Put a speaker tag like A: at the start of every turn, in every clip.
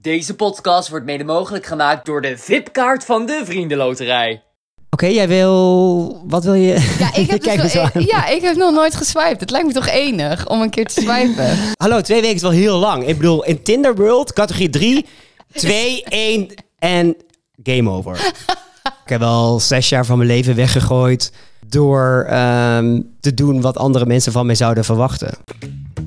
A: Deze podcast wordt mede mogelijk gemaakt door de VIP-kaart van de Vriendenloterij.
B: Oké, jij wil. Wat wil je?
C: Ja, ik heb,
B: Kijk
C: dus
B: me zo
C: wel-
B: aan.
C: ja, ik heb nog nooit geswiped. Het lijkt me toch enig om een keer te swipen.
B: Hallo, twee weken is wel heel lang. Ik bedoel, in Tinder World, categorie 3, 2, 1 en game over. Ik heb wel zes jaar van mijn leven weggegooid door ehm, te doen wat andere mensen van mij zouden verwachten.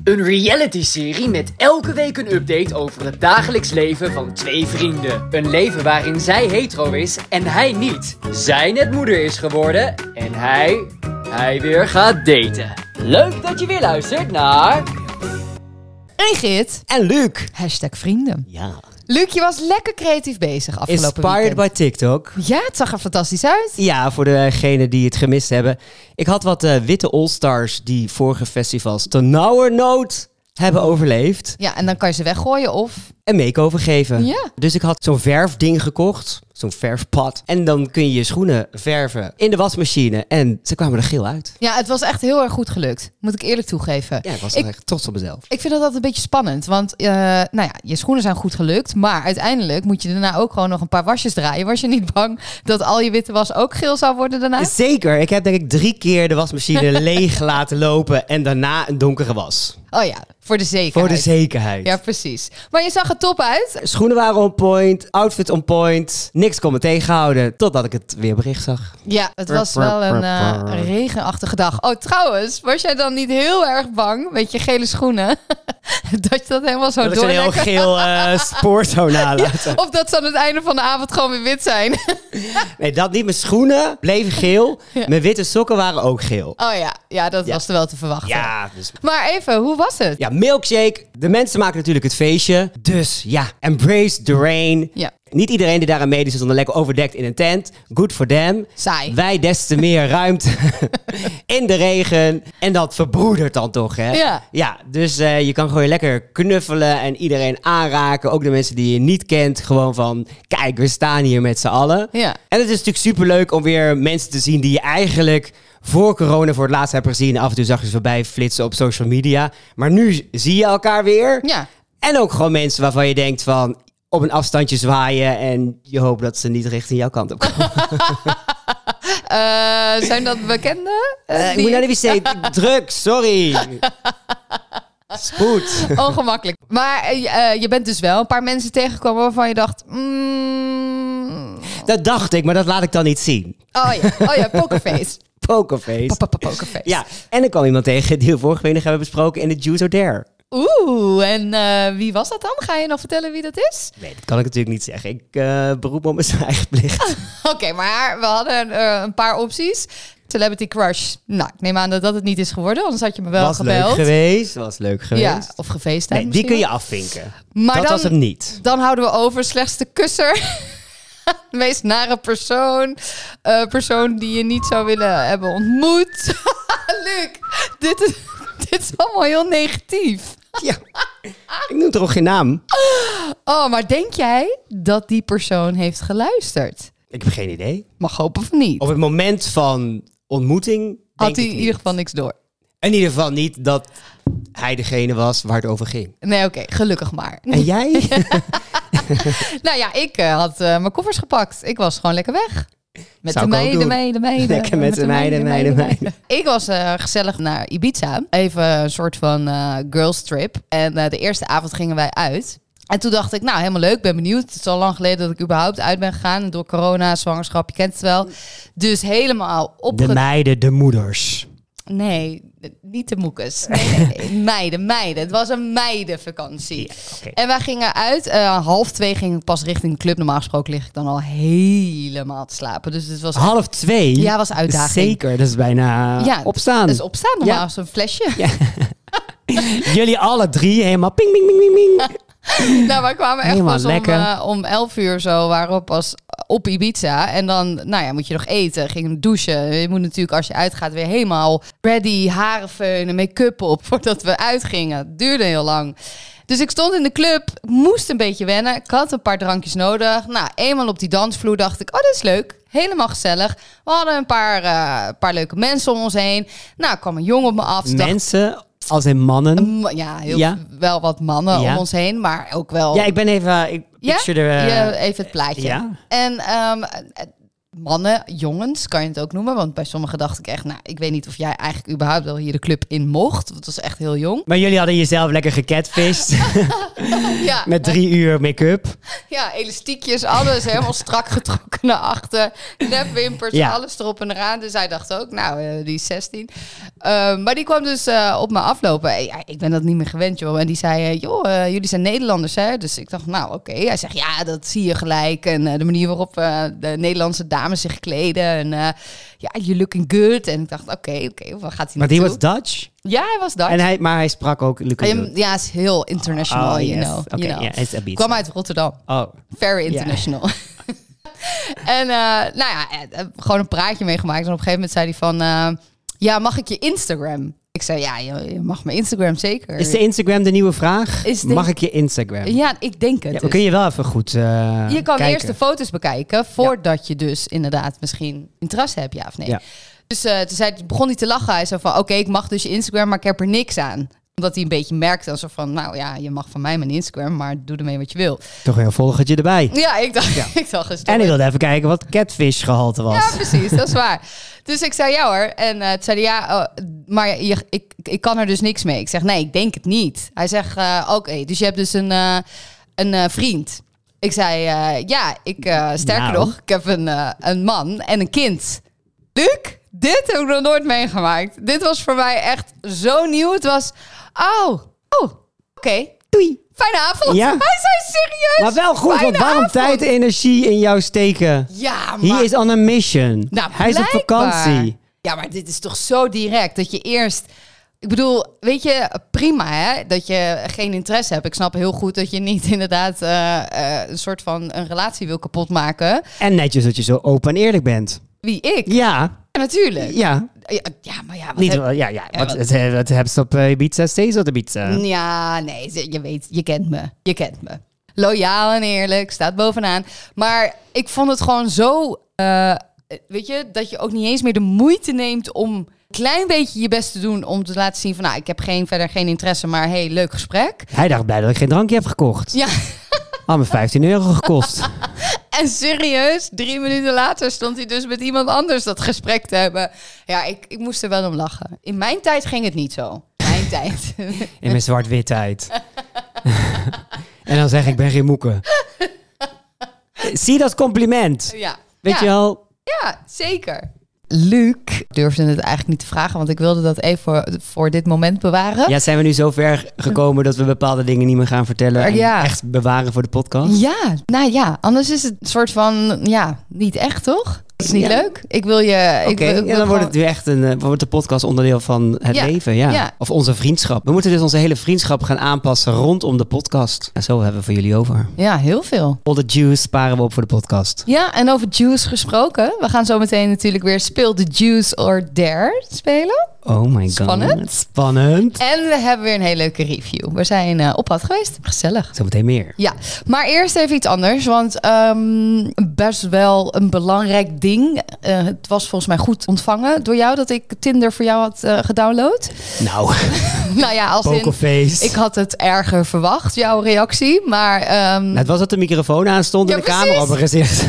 A: Een reality-serie met elke week een update over het dagelijks leven van twee vrienden. Een leven waarin zij hetero is en hij niet. Zij net moeder is geworden en hij, hij weer gaat daten. Leuk dat je weer luistert naar...
C: Regit,
B: En Luc.
C: hashtag vrienden.
B: Ja.
C: Luc, je was lekker creatief bezig afgelopen
B: Inspired
C: weekend.
B: by TikTok.
C: Ja, het zag er fantastisch uit.
B: Ja, voor degenen die het gemist hebben. Ik had wat eh, witte all-stars die vorige festivals ternauwernood hebben overleefd.
C: Ja, en dan kan je ze weggooien of...
B: een make-over geven.
C: Ja.
B: Dus ik had zo'n verfding gekocht, zo'n verfpad. En dan kun je je schoenen verven in de wasmachine. En ze kwamen er geel uit.
C: Ja, het was echt heel erg goed gelukt. Moet ik eerlijk toegeven.
B: Ja, ik was
C: Ik-
B: echt trots op mezelf.
C: Ik vind dat altijd een beetje spannend. Want eh, nou ja, je schoenen zijn goed gelukt. Maar uiteindelijk moet je daarna ook gewoon nog een paar wasjes draaien. Was je niet bang dat al je witte was ook geel zou worden daarna?
B: Zeker, ik heb denk ik drie keer de wasmachine leeg laten lopen en daarna een donkere was.
C: Oh ja, voor de zekerheid.
B: Voor de zekerheid.
C: Ja, precies. Maar je zag er top uit.
B: Schoenen waren on point, outfit on point, niks kon me tegenhouden, totdat ik het weerbericht zag.
C: Ja, het was wel een eh, regenachtige dag. Oh, trouwens, was jij dan niet heel erg bang met je gele schoenen? dat je dat helemaal zo
B: Dat ik zo'n heel
C: doorlekker...
B: geel eh spoor zou nalaten.
C: Of dat ze aan het einde van de avond gewoon weer wit zijn.
B: Nee, dat niet. Mijn schoenen bleven geel,
C: Ja.
B: mijn witte sokken waren ook geel.
C: oh ja, ja dat was er wel te verwachten.
B: Ja, dus
C: Maar even, hoe was het?
B: Ja, milkshake. De mensen maken natuurlijk het feestje. Dus ja, embrace the rain.
C: Ja.
B: Niet iedereen die daaraan meedoet is dan lekker overdekt in een tent. Good for them.
C: Saai.
B: Wij des te meer ruimte in de regen. En dat verbroedert dan toch, hè?
C: Ja.
B: dus eh, je kan gewoon lekker knuffelen en iedereen aanraken. Ook de mensen die je niet kent. Gewoon van, kijk, we staan hier met z'n allen.
C: Ja.
B: En het is natuurlijk superleuk om weer mensen te zien die je eigenlijk voor corona voor het laatst hebt gezien. Af en toe zag je ze voorbij flitsen op social media. Maar nu zie je elkaar weer.
C: Ja.
B: En ook gewoon mensen waarvan je denkt van op een afstandje zwaaien en je hoopt dat ze niet richting jouw kant op komen.
C: Eh, zijn dat bekende?
B: Eh, ik moet naar de wc. Druk, sorry. Spoed.
C: Ongemakkelijk. Maar eh, eh, je bent dus wel een paar mensen tegengekomen waarvan je dacht... mm,
B: Dat dacht ik, maar dat laat ik dan niet zien.
C: oh ja, oh ja pokerface.
B: Pokerface.
C: Papa pokerface.
B: Ja, en er kwam iemand tegen die we vorige week nog hebben besproken in de Juice or Dare.
C: Oeh, en eh, wie was dat dan? Ga je nog vertellen wie dat is?
B: Nee, dat kan ik natuurlijk niet zeggen. Ik eh, beroep me op mijn eigen plicht.
C: Oké, maar we hadden eh, een paar opties. Celebrity Crush. Nou, ik neem aan dat dat het niet is geworden, anders had je me wel
B: was
C: gebeld.
B: leuk geweest. Was leuk geweest.
C: Ja, of gefeest.
B: nee, die kun je afvinken.
C: Maar
B: dat
C: dan-
B: was hem niet.
C: Dan houden we over slechtste kusser. De meest nare persoon. Eh, persoon die je niet zou willen hebben ontmoet. Luc, dit is, dit is allemaal heel negatief.
B: Ja. ik noem toch ook geen naam?
C: Oh, maar denk jij dat die persoon heeft geluisterd?
B: Ik heb geen idee.
C: Mag hopen of niet.
B: Op het moment van ontmoeting. denk
C: Had
B: ik
C: hij in
B: niet.
C: ieder geval niks door.
B: In ieder geval niet dat hij degene was waar het over ging.
C: Nee, oké, gelukkig maar.
B: En jij?
C: Nou ja, ik eh, had eh, mijn koffers gepakt. Ik was gewoon lekker weg. Met
B: Zou
C: de
B: ik ook
C: meiden,
B: doen.
C: meiden, meiden.
B: Lekker met de meiden, meiden,
C: Ik was eh, gezellig naar Ibiza. Even een soort van eh girls trip. En eh, de eerste avond gingen wij uit. En toen dacht ik, nou helemaal leuk, ben benieuwd. Het is al lang geleden dat ik überhaupt uit ben gegaan. Door corona, zwangerschap, je kent het wel. Dus helemaal
B: De
C: opge...
B: meiden, de moeders.
C: Nee, niet de moekes. Nee, nee, nee. meiden, meiden. Het was een meidenvakantie.
B: Ja, oké.
C: En wij gingen uit. eh, half twee ging ik pas richting de club. Normaal gesproken lig ik dan al helemaal te slapen. Dus het was...
B: Half twee?
C: Ja, was uitdaging.
B: Zeker, dat is bijna opstaan.
C: Dus opstaan normaal
B: Ja.
C: als een flesje.
B: Jullie alle drie helemaal ping, ping, ping, ping, ping.
C: Nou, wij kwamen echt
B: Helemaal
C: pas om,
B: lekker.
C: eh, om 11 uur zo, waren we pas op Ibiza. En dan, nou ja, moet je nog eten, ging douchen. Je moet natuurlijk als je uitgaat weer helemaal ready, haren feunen, make-up op voordat we uitgingen. Het duurde heel lang. Dus ik stond in de club, moest een beetje wennen. Ik had een paar drankjes nodig. Nou, eenmaal op die dansvloer dacht ik, oh, dit is leuk. Helemaal gezellig. We hadden een paar, eh, paar leuke mensen om ons heen. Nou, kwam een jongen op me af. Ze dacht-
B: Mensen Als in mannen.
C: Mm, Ja, heel
B: Ja.
C: wel wat mannen
B: Ja.
C: om ons heen, maar ook wel...
B: Ja, ik ben even... Ik
C: Ja?
B: picture de... eh,
C: Ja, even het plaatje.
B: ja.
C: En ehm, eh, mannen, jongens, kan je het ook noemen. Want bij sommigen dacht ik echt, nou, ik weet niet of jij eigenlijk überhaupt wel hier de club in mocht. Want het was echt heel jong.
B: Maar jullie hadden jezelf lekker gecatfished
C: Ja,
B: met drie uur make-up.
C: ja elastiekjes, alles helemaal strak getrokken naar achter. Nepwimpers,
B: Ja.
C: alles erop en eraan. Dus hij dacht ook, nou, eh, die is 16. Ehm, maar die kwam dus eh, op me aflopen. Eh, ja, ik ben dat niet meer gewend, joh. En die zei, eh, joh, eh, jullie zijn Nederlanders, hè? Dus ik dacht, nou, oké. Hij zegt, ja, dat zie je gelijk. En eh, de manier waarop eh, de Nederlandse dames zich kleden. En eh, ja, you looking good. En ik dacht, oké, oké, waar gaat hij
B: Want hij was
C: naartoe?
B: Dutch.
C: Ja, hij was dat.
B: En hij, maar hij sprak ook Lucas.
C: Hij- Ja, is heel international,
B: Oh,
C: you
B: yes.
C: know.
B: Oké,
C: you know.
B: ja, hij is Ibiza.
C: kwam uit Rotterdam.
B: Oh,
C: Very international. en eh, nou ja, eh, eh, gewoon een praatje meegemaakt. En op een gegeven moment zei hij van... eh, ja, mag ik je Instagram? Ik zei, ja, je, je mag mijn Instagram zeker.
B: is de Instagram de nieuwe vraag?
C: Is de-
B: Mag ik je Instagram? Ja,
C: ja, ik denk het.
B: maar
C: dus.
B: kun je wel even goed eh,
C: Je kan
B: kijken.
C: eerst de foto's bekijken voordat je dus inderdaad misschien interesse hebt, ja of nee.
B: Ja.
C: Dus eh, toen zei, begon hij te lachen. Hij zei van, oké, ik mag dus je Instagram, maar ik heb er niks aan. Omdat hij een beetje merkte, alsof van, nou ja, je mag van mij mijn Instagram, maar doe ermee wat je wil.
B: Toch een volgertje erbij.
C: Ja, ik dacht, ik dacht, is toch
B: En ik wilde even kijken wat catfish gehalte was.
C: Ja, precies, dat is waar. Dus ik zei ja hoor. En eh toen zei hij ja, oh, maar je, ik, ik kan er dus niks mee. Ik zeg nee, ik denk het niet. Hij zegt eh, oké, dus je hebt dus een, eh, een eh, vriend. Ik zei eh, ja, ik, eh, sterker
B: Nou.
C: nog, ik heb een, eh, een man en een kind. Luc, dit heb ik nog nooit meegemaakt. Dit was voor mij echt zo nieuw. Het was, oh, oh oké, doei. Fijne avond.
B: Ja.
C: Hij zei serieus.
B: Maar wel goed, want
C: fijne
B: waarom
C: avond.
B: tijd en energie in jou steken?
C: Ja,
B: He
C: maar...
B: is on a mission.
C: Nou,
B: Hij is op
C: blijkbaar.
B: vakantie.
C: Ja, maar dit is toch zo direct dat je eerst. Ik bedoel, weet je, prima hè, dat je geen interesse hebt. Ik snap heel goed dat je niet inderdaad eh, eh, een soort van een relatie wil kapotmaken.
B: En netjes dat je zo open en eerlijk bent.
C: Wie ik?
B: Ja,
C: Ja, natuurlijk.
B: ja.
C: Ja, ja, maar ja, wat
B: Niet,
C: heb-
B: wel- ja, ja. Wat,
C: wat-
B: het, het hebben ze op eh, Ibiza steeds op Ibiza.
C: Ja, nee, ze- je weet, je kent me. Je kent me. Loyaal en eerlijk, staat bovenaan. Maar ik vond het gewoon zo, eh, weet je, dat je ook niet eens meer de moeite neemt om een klein beetje je best te doen om te laten zien van, nou, ik heb geen, verder geen interesse, maar hey, leuk gesprek.
B: Hij dacht blij dat ik geen drankje heb gekocht.
C: Ja,
B: Had me 15 euro gekost.
C: en serieus, drie minuten later stond hij dus met iemand anders dat gesprek te hebben. Ja, ik, ik moest er wel om lachen. In mijn tijd ging het niet zo. Mijn tijd.
B: In mijn zwart-witheid. en dan zeg ik, ik ben geen moeke. Zie dat compliment.
C: ja.
B: Weet
C: Ja.
B: je al?
C: Ja, zeker. Luc durfde het eigenlijk niet te vragen, want ik wilde dat even voor, voor dit moment bewaren.
B: Ja, zijn we nu zo ver gekomen dat we bepaalde dingen niet meer gaan vertellen. En
C: Ja.
B: echt bewaren voor de podcast?
C: Ja, nou ja, anders is het een soort van, ja, niet echt toch? Dat is niet
B: Ja.
C: leuk. Ik wil je... ik
B: Oké,
C: wil- ik
B: en
C: wil
B: dan wordt het
C: gewoon-
B: nu echt een, eh, wordt de podcast onderdeel van het
C: Ja,
B: leven, ja.
C: ja.
B: Of onze vriendschap. We moeten dus onze hele vriendschap gaan aanpassen rondom de podcast. En zo hebben we voor jullie over.
C: Ja, heel veel.
B: All the juice sparen we op voor de podcast.
C: Ja, en over Juice gesproken. We gaan zo meteen natuurlijk weer Speel the Juice or Dare spelen.
B: Oh my god.
C: Spannend.
B: Spannend.
C: En we hebben weer een hele leuke review. We zijn eh, op pad geweest. Gezellig.
B: Zometeen meer.
C: Ja, maar eerst even iets anders, want ehm, best wel een belangrijk ding. Eh, het was volgens mij goed ontvangen door jou dat ik Tinder voor jou had eh, gedownload.
B: Nou,
C: nou ja, als in,
B: pokerface.
C: ik had het erger verwacht, jouw reactie, maar ehm,
B: Nou, het was dat de microfoon aan stond
C: Ja,
B: en de
C: precies.
B: camera op mijn gezicht.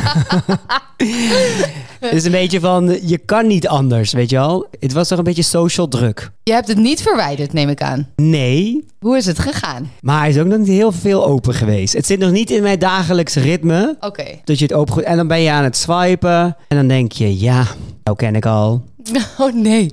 B: het is een beetje van, je kan niet anders, weet je wel. Het was toch een beetje social druk.
C: je hebt het niet verwijderd, neem ik aan.
B: Nee,
C: Hoe is het gegaan?
B: maar hij is ook nog niet heel veel open geweest. Het zit nog niet in mijn dagelijks ritme.
C: Oké.
B: Dat je het open En dan ben je aan het swipen. En dan denk je, ja, nou ken ik al.
C: Oh nee,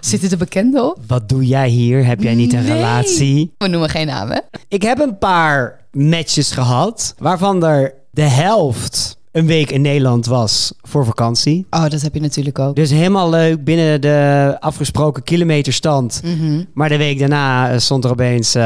C: zit het een bekende op?
B: Wat doe jij hier? Heb jij niet een
C: Nee.
B: relatie?
C: We noemen geen namen.
B: Ik heb een paar matches gehad. Waarvan er de helft een week in Nederland was voor vakantie.
C: Oh, dat heb je natuurlijk ook.
B: Dus helemaal leuk binnen de afgesproken kilometerstand.
C: Mhm.
B: Maar de week daarna eh, stond er opeens eh,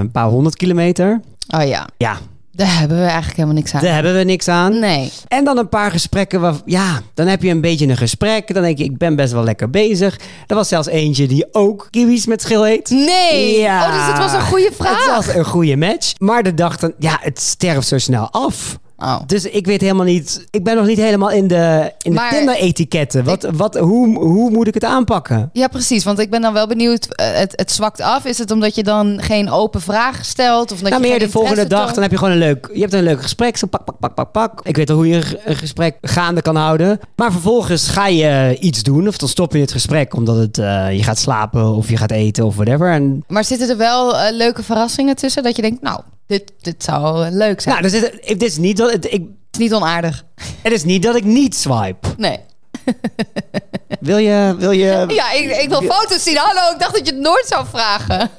B: een paar honderd kilometer.
C: Oh ja,
B: Ja,
C: daar hebben we eigenlijk helemaal niks aan.
B: daar hebben we niks aan.
C: Nee.
B: En dan een paar gesprekken. Waar, ja, dan heb je een beetje een gesprek. Dan denk je, ik ben best wel lekker bezig. Er was zelfs eentje die ook kiwis met schil heet.
C: Nee. Oh, dus het was een goede vraag.
B: Het was een goede match. Maar de dag dan, ja, het sterft zo snel af.
C: Oh.
B: Dus ik weet helemaal niet. Ik ben nog niet helemaal in de, in
C: Maar-
B: de Tinder-etiketten. Wat, wat, hoe, hoe moet ik het aanpakken?
C: Ja, precies. Want ik ben dan wel benieuwd. eh, Het, het zwakt af. Is het omdat je dan geen open vraag stelt? Of dat
B: nou,
C: je
B: meer
C: geen
B: de volgende dag,
C: interesse toont?
B: dan heb je gewoon een leuk, je hebt een leuk gesprek. Zo pak, pak, pak, pak, pak. Ik weet al hoe je een ge- een gesprek gaande kan houden. Maar vervolgens ga je eh, iets doen. Of dan stop je het gesprek omdat het, eh, je gaat slapen of je gaat eten of whatever. En
C: Maar zitten er wel eh, leuke verrassingen tussen? Dat je denkt, nou, dit, dit zou eh, leuk zijn.
B: nou, dus dit, ik- dit is niet dat, het, ik,
C: het is niet onaardig.
B: het is niet dat ik niet swipe.
C: Nee.
B: Wil je, wil je... Oké,
C: Ehm, Ja, ik, ik wil foto's zien. Hallo, ik dacht dat je het nooit zou vragen.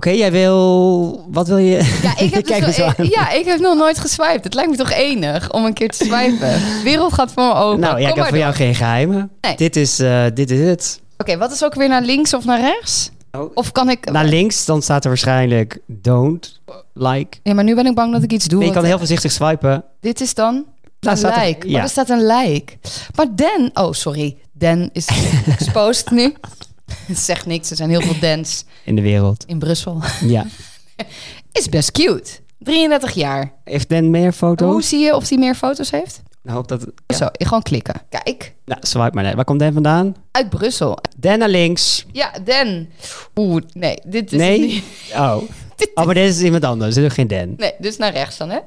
B: jij wil... Wat wil je?
C: Ja, ik heb, dus
B: Kijk me
C: nog-
B: zo aan.
C: ik, ja, ik heb nog nooit geswiped. Het lijkt me toch enig om een keer te swipen. De wereld gaat voor me open.
B: Nou, ja, ik
C: Kom
B: heb voor
C: maar door.
B: jou geen geheimen.
C: Nee.
B: Dit, is, eh, dit is het.
C: Oké, wat is ook weer naar links of naar rechts?
B: Oh.
C: Of kan ik...
B: Naar links, dan staat er waarschijnlijk don't like.
C: ja, maar nu ben ik bang dat ik iets doe.
B: Nee, je kan
C: wat-
B: heel voorzichtig swipen.
C: Dit is dan
B: Daar
C: een
B: staat er-
C: like.
B: ja.
C: Maar er staat een like. Maar Dan... Oh, sorry. Dan is exposed nu. Het zegt niks. Er zijn heel veel Dans
B: in de wereld.
C: in Brussel.
B: Ja.
C: Is best cute. 33 jaar.
B: Heeft Dan meer
C: Hoe
B: foto's?
C: zie je of hij meer foto's heeft?
B: Nou, op dat...
C: Zo, gewoon klikken. Kijk.
B: Nou, swipe maar net. Waar komt Dan vandaan?
C: Uit Brussel.
B: Dan naar links.
C: Ja, Dan. Oeh, nee. Dit is
B: nee?
C: het niet.
B: Oh. oh, maar dit is iemand anders. Dit is ook geen Dan.
C: Nee, dus naar rechts dan, hè?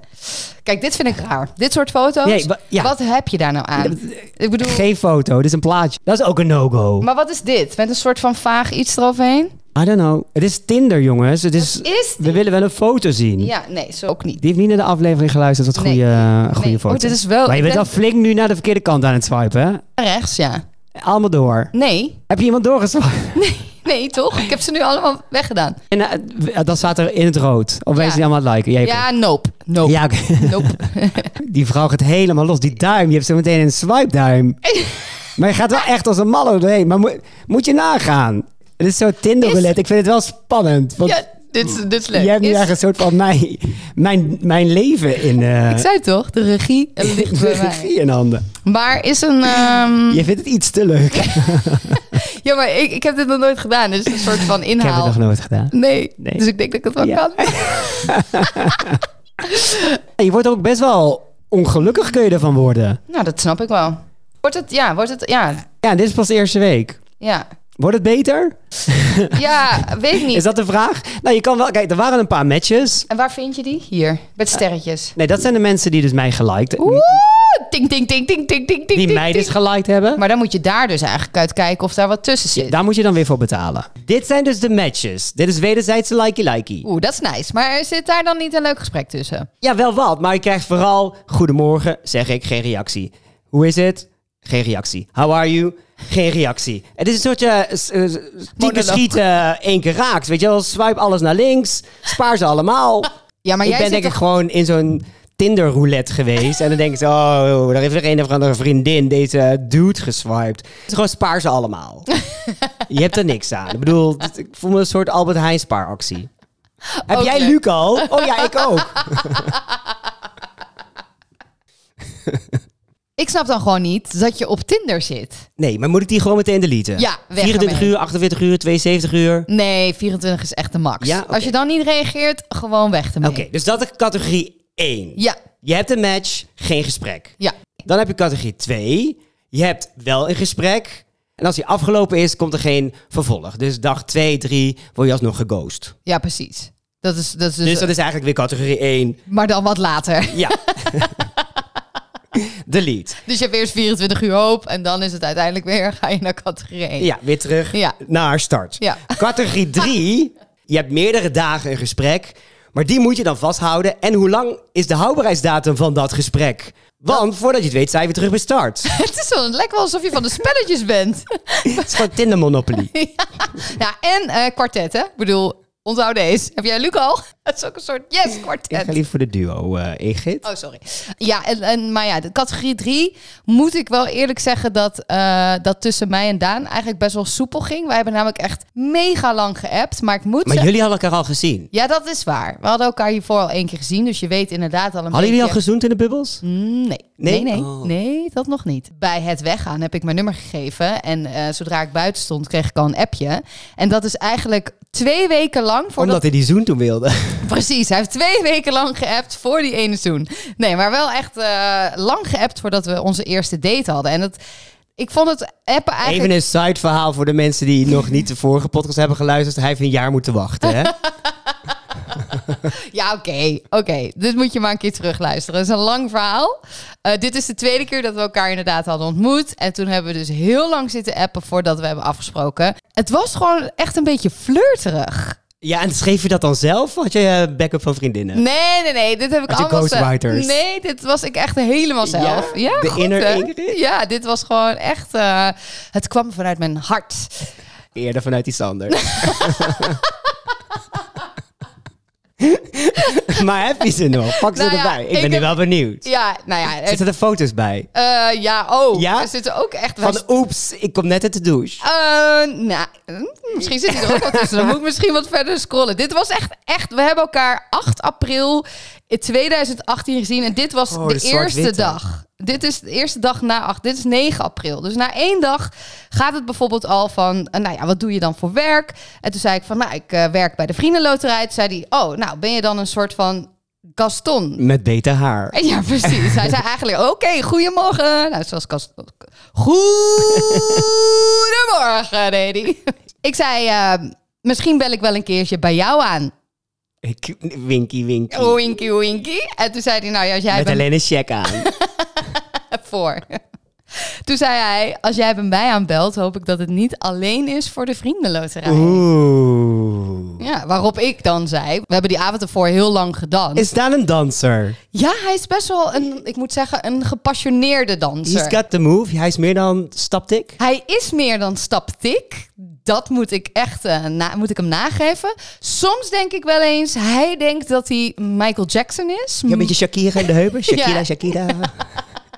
C: Kijk, dit vind ik raar. Dit soort foto's.
B: Nee, wa- ja.
C: Wat heb je daar nou aan? Ik bedoel,
B: Geen foto. Dit is een plaatje. Dat is ook een no-go.
C: maar wat is dit? Met een soort van vaag iets eroverheen?
B: I don't know. Het is Tinder, jongens. Het is...
C: Is
B: We willen wel een foto zien.
C: Ja, nee, zo ook niet.
B: Die heeft niet naar de aflevering geluisterd. Wat
C: Nee.
B: goede, eh, goede
C: Nee.
B: foto.
C: Oh, dit is wel-
B: Maar je
C: ik
B: bent al
C: ben-
B: flink nu naar de verkeerde kant aan het swipen, hè?
C: Naar rechts, ja.
B: Allemaal door.
C: Nee,
B: Heb je iemand doorgeswipen?
C: nee, toch? Ik heb ze nu allemaal weggedaan.
B: En eh, dat staat er in het rood. Of
C: Ja.
B: mensen die allemaal liken. Jij hebt-
C: Ja, nope. Nope.
B: Ja, oké.
C: Nope.
B: Die vrouw gaat helemaal los. Die duim, je hebt zo meteen een swipe duim. Maar je gaat wel echt als een malle doorheen. Maar moet, moet je nagaan. Het is zo Tinder roulette. Ik vind het wel spannend. Want
C: Ja, dit, is- dit is leuk.
B: jij hebt nu
C: Is-
B: eigenlijk een soort van mijn, mijn, mijn leven in, eh
C: Ik zei toch, de regie eh, ligt bij mij.
B: in handen.
C: Maar is een... ehm,
B: Je vindt het iets te leuk.
C: Ja, maar ik, ik heb dit nog nooit gedaan. Dus een soort van
B: Ik heb het
C: inhaal.
B: nog nooit gedaan.
C: Nee.
B: Nee.
C: dus ik denk dat ik het wel
B: Ja.
C: kan.
B: Je wordt er ook best wel ongelukkig kun je ervan worden.
C: Nou, dat snap ik wel. Wordt het, ja, wordt het, ja,
B: Ja, dit is pas de eerste week.
C: ja.
B: Wordt het beter?
C: Ja, weet ik niet.
B: Is dat de vraag? Nou, je kan wel... Kijk, er waren een paar matches.
C: En waar vind je die? Hier, met sterretjes.
B: Nee, dat zijn de mensen die dus mij geliked...
C: Oeh, ting, ting, ting, ting, ting, ting, ting.
B: Die
C: ting,
B: mij
C: ting.
B: dus geliked hebben.
C: Maar dan moet je daar dus eigenlijk uit kijken of daar wat tussen zit.
B: Daar moet je dan weer voor betalen. Dit zijn dus de matches. Dit is wederzijdse likey-likey.
C: Oeh, dat is nice. Maar zit daar dan niet een leuk gesprek tussen?
B: Ja, wel wat, maar je krijgt vooral... Goedemorgen, zeg ik, geen reactie. Hoe is het? Geen reactie. How are you? Geen reactie. Het is een soortje eh, stieke
C: Monoloog.
B: schieten eh, één keer raakt. Weet je wel, swipe alles naar links. Spaar ze allemaal.
C: Ja, maar
B: ik
C: jij
B: ben
C: zit
B: denk ik
C: toch...
B: gewoon in zo'n Tinder roulette geweest. en dan denk ik, zo, oh, daar heeft er een of andere vriendin deze dude geswiped. Het is gewoon spaar ze allemaal. Je hebt er niks aan. Ik bedoel, dit- ik voel me een soort Albert Heijn spaaractie. Heb
C: Ook
B: jij
C: leuk.
B: Luc al? Oh ja, ik ook.
C: Ik snap dan gewoon niet dat je op Tinder zit.
B: Nee, maar moet ik die gewoon meteen deleten?
C: Ja, weg
B: 24
C: ermee.
B: uur, 48 uur, 72 uur. Oké,
C: Nee, 24 is echt de max.
B: Ja, oké.
C: Als je dan niet reageert, gewoon weg ermee.
B: dus dat is categorie 1.
C: Ja,
B: Je hebt een match, geen gesprek.
C: ja.
B: Dan heb je categorie 2. Je hebt wel een gesprek. En als die afgelopen is, komt er geen vervolg. Dus dag 2, 3 word je alsnog geghost. Dus,
C: Ja, precies. Dat is, dat is dus,
B: dat is eigenlijk weer categorie 1.
C: Maar dan wat later.
B: Ja. Delete.
C: Dus je hebt eerst 24 uur hoop en dan is het uiteindelijk weer, ga je naar categorie 1.
B: Ja, weer terug
C: Ja.
B: naar start.
C: Ja.
B: Categorie 3. Je hebt meerdere dagen een gesprek. Maar die moet je dan vasthouden. En hoe lang is de houdbaarheidsdatum van dat gesprek? Want voordat je het weet, zijn we terug bij start.
C: Het is wel, het lijkt wel alsof je van de spelletjes bent.
B: het is gewoon Tinder Monopoly.
C: Ja, en eh kwartet, hè? Ik bedoel, onthoud deze. Heb jij Luc al? Dat is ook een soort yes,
B: Ik ga
C: kwartet.
B: liever voor de duo, eh Ingrid.
C: Oh, sorry. Ja, en, en, maar ja, de categorie 3 moet ik wel eerlijk zeggen dat, eh, dat tussen mij en Daan eigenlijk best wel soepel ging. Wij hebben namelijk echt mega lang geappt, maar ik moet
B: Maar
C: zeggen-
B: jullie hadden elkaar al gezien.
C: Ja, dat is waar. We hadden elkaar hiervoor al één keer gezien, dus je weet inderdaad al een
B: Hadden jullie al
C: beetje...
B: gezoend in de bubbels?
C: Mm, Nee.
B: Nee?
C: Nee, nee,
B: Oh.
C: nee, dat nog niet. Bij het weggaan heb ik mijn nummer gegeven. En eh, zodra ik buiten stond, kreeg ik al een appje. En dat is eigenlijk twee weken lang voordat...
B: Omdat hij die zoen toen wilde.
C: Precies, hij heeft twee weken lang geappt voor die ene zoen. Nee, maar wel echt eh, lang geappt voordat we onze eerste date hadden. En dat, ik vond het appen eigenlijk...
B: Even een side-verhaal voor de mensen die nog niet de vorige podcast hebben geluisterd. Hij heeft een jaar moeten wachten. Hè?
C: Ja, oké. oké. Dit moet je maar een keer terugluisteren. Het is een lang verhaal. Eh, dit is de tweede keer dat we elkaar inderdaad hadden ontmoet. En toen hebben we dus heel lang zitten appen voordat we hebben afgesproken. Het was gewoon echt een beetje flirterig.
B: Ja, en schreef je dat dan zelf? of Had je eh, backup van vriendinnen?
C: Nee, nee, nee. Dit heb ik
B: Had je
C: allemaal... ze-
B: ghostwriters?
C: Nee, dit was ik echt helemaal zelf.
B: Ja?
C: Ja,
B: De
C: goed,
B: inner
C: hè?
B: Ingrid?
C: Ja, dit was gewoon echt... eh, het kwam vanuit mijn hart.
B: Eerder vanuit iets anders. maar heb je ze nog? Pak ze
C: Nou ja,
B: erbij. Ik
C: ik
B: ben nu
C: heb-
B: wel benieuwd.
C: Ja, nou ja. het-
B: Zitten er foto's bij?
C: eh, ja, oh.
B: Ja?
C: Er zitten ook echt...
B: Van oeps, ik kom net uit de douche.
C: Eh, nou, mm, misschien zit hij er ook wat tussen. Dan moet ik misschien wat verder scrollen. Dit was echt, echt... We hebben elkaar 8 april in 2018 gezien. En dit was
B: Oh,
C: de
B: de zwart-witte.
C: eerste dag. Dit is de eerste dag na 8. Dit is 9 april. Dus na één dag gaat het bijvoorbeeld al van... eh, nou ja, wat doe je dan voor werk? En toen zei ik van, nou, ik eh, werk bij de Vriendenloterij. Toen zei hij, oh, nou, ben je dan een soort van Gaston?
B: Met beter haar.
C: Ja, precies. Hij zei eigenlijk, oké, goedemorgen. Nou, zoals Cas... Goedemorgen, deed hij. Ik zei, eh, misschien bel ik wel een keertje bij jou aan.
B: Ik, winky
C: Oh,
B: winky.
C: Oinkie, oinkie. En toen zei hij, nou ja, als jij
B: Met
C: bij
B: alleen een check aan.
C: mij voor... Toen zei hij, als jij bij mij aanbelt, hoop ik dat het niet alleen is voor de vriendenloterij.
B: Oeh.
C: Ja, waarop ik dan zei, we hebben die avond ervoor heel lang gedanst.
B: Is dat een danser?
C: Ja, hij is best wel een, ik moet zeggen, een gepassioneerde danser.
B: He's got the move. Hij is meer dan staptik.
C: Hij is meer dan staptik. Dat moet ik echt eh, na- moet ik hem nageven. Soms denk ik wel eens, hij denkt dat hij Michael Jackson is.
B: Ja, een beetje Shakira in de heupen. Shakira,
C: Mm. Ja.
B: Shakira.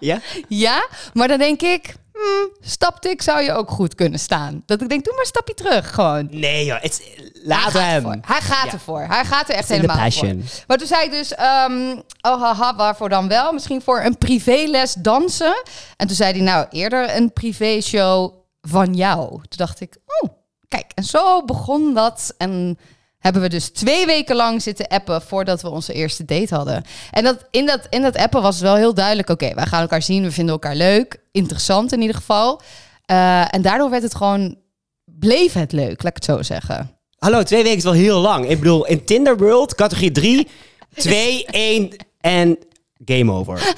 B: ja?
C: Ja, maar dan denk ik, hmm, staptik zou je ook goed kunnen staan. Dat ik denk, doe maar een stapje terug gewoon.
B: Nee joh, het is-
C: Hij
B: laat
C: gaat
B: hem.
C: ervoor. Hij gaat
B: Ja.
C: ervoor. Hij gaat er echt
B: in de
C: helemaal
B: passion.
C: voor. Maar toen zei ik dus, ehm, oh haha, waarvoor dan wel? Misschien voor een privéles dansen. En toen zei hij, nou eerder een privéshow van jou. Toen dacht ik, oh, kijk. En zo begon dat. En hebben we dus twee weken lang zitten appen voordat we onze eerste date hadden. En dat, in, dat, in dat appen was het wel heel duidelijk, oké, wij gaan elkaar zien. We vinden elkaar leuk, interessant in ieder geval. Eh, en daardoor werd het gewoon, bleef het leuk, laat ik het zo zeggen.
B: Hallo, twee weken is wel heel lang. Ik bedoel, in Tinder World, categorie 3, 2, 1 en game over.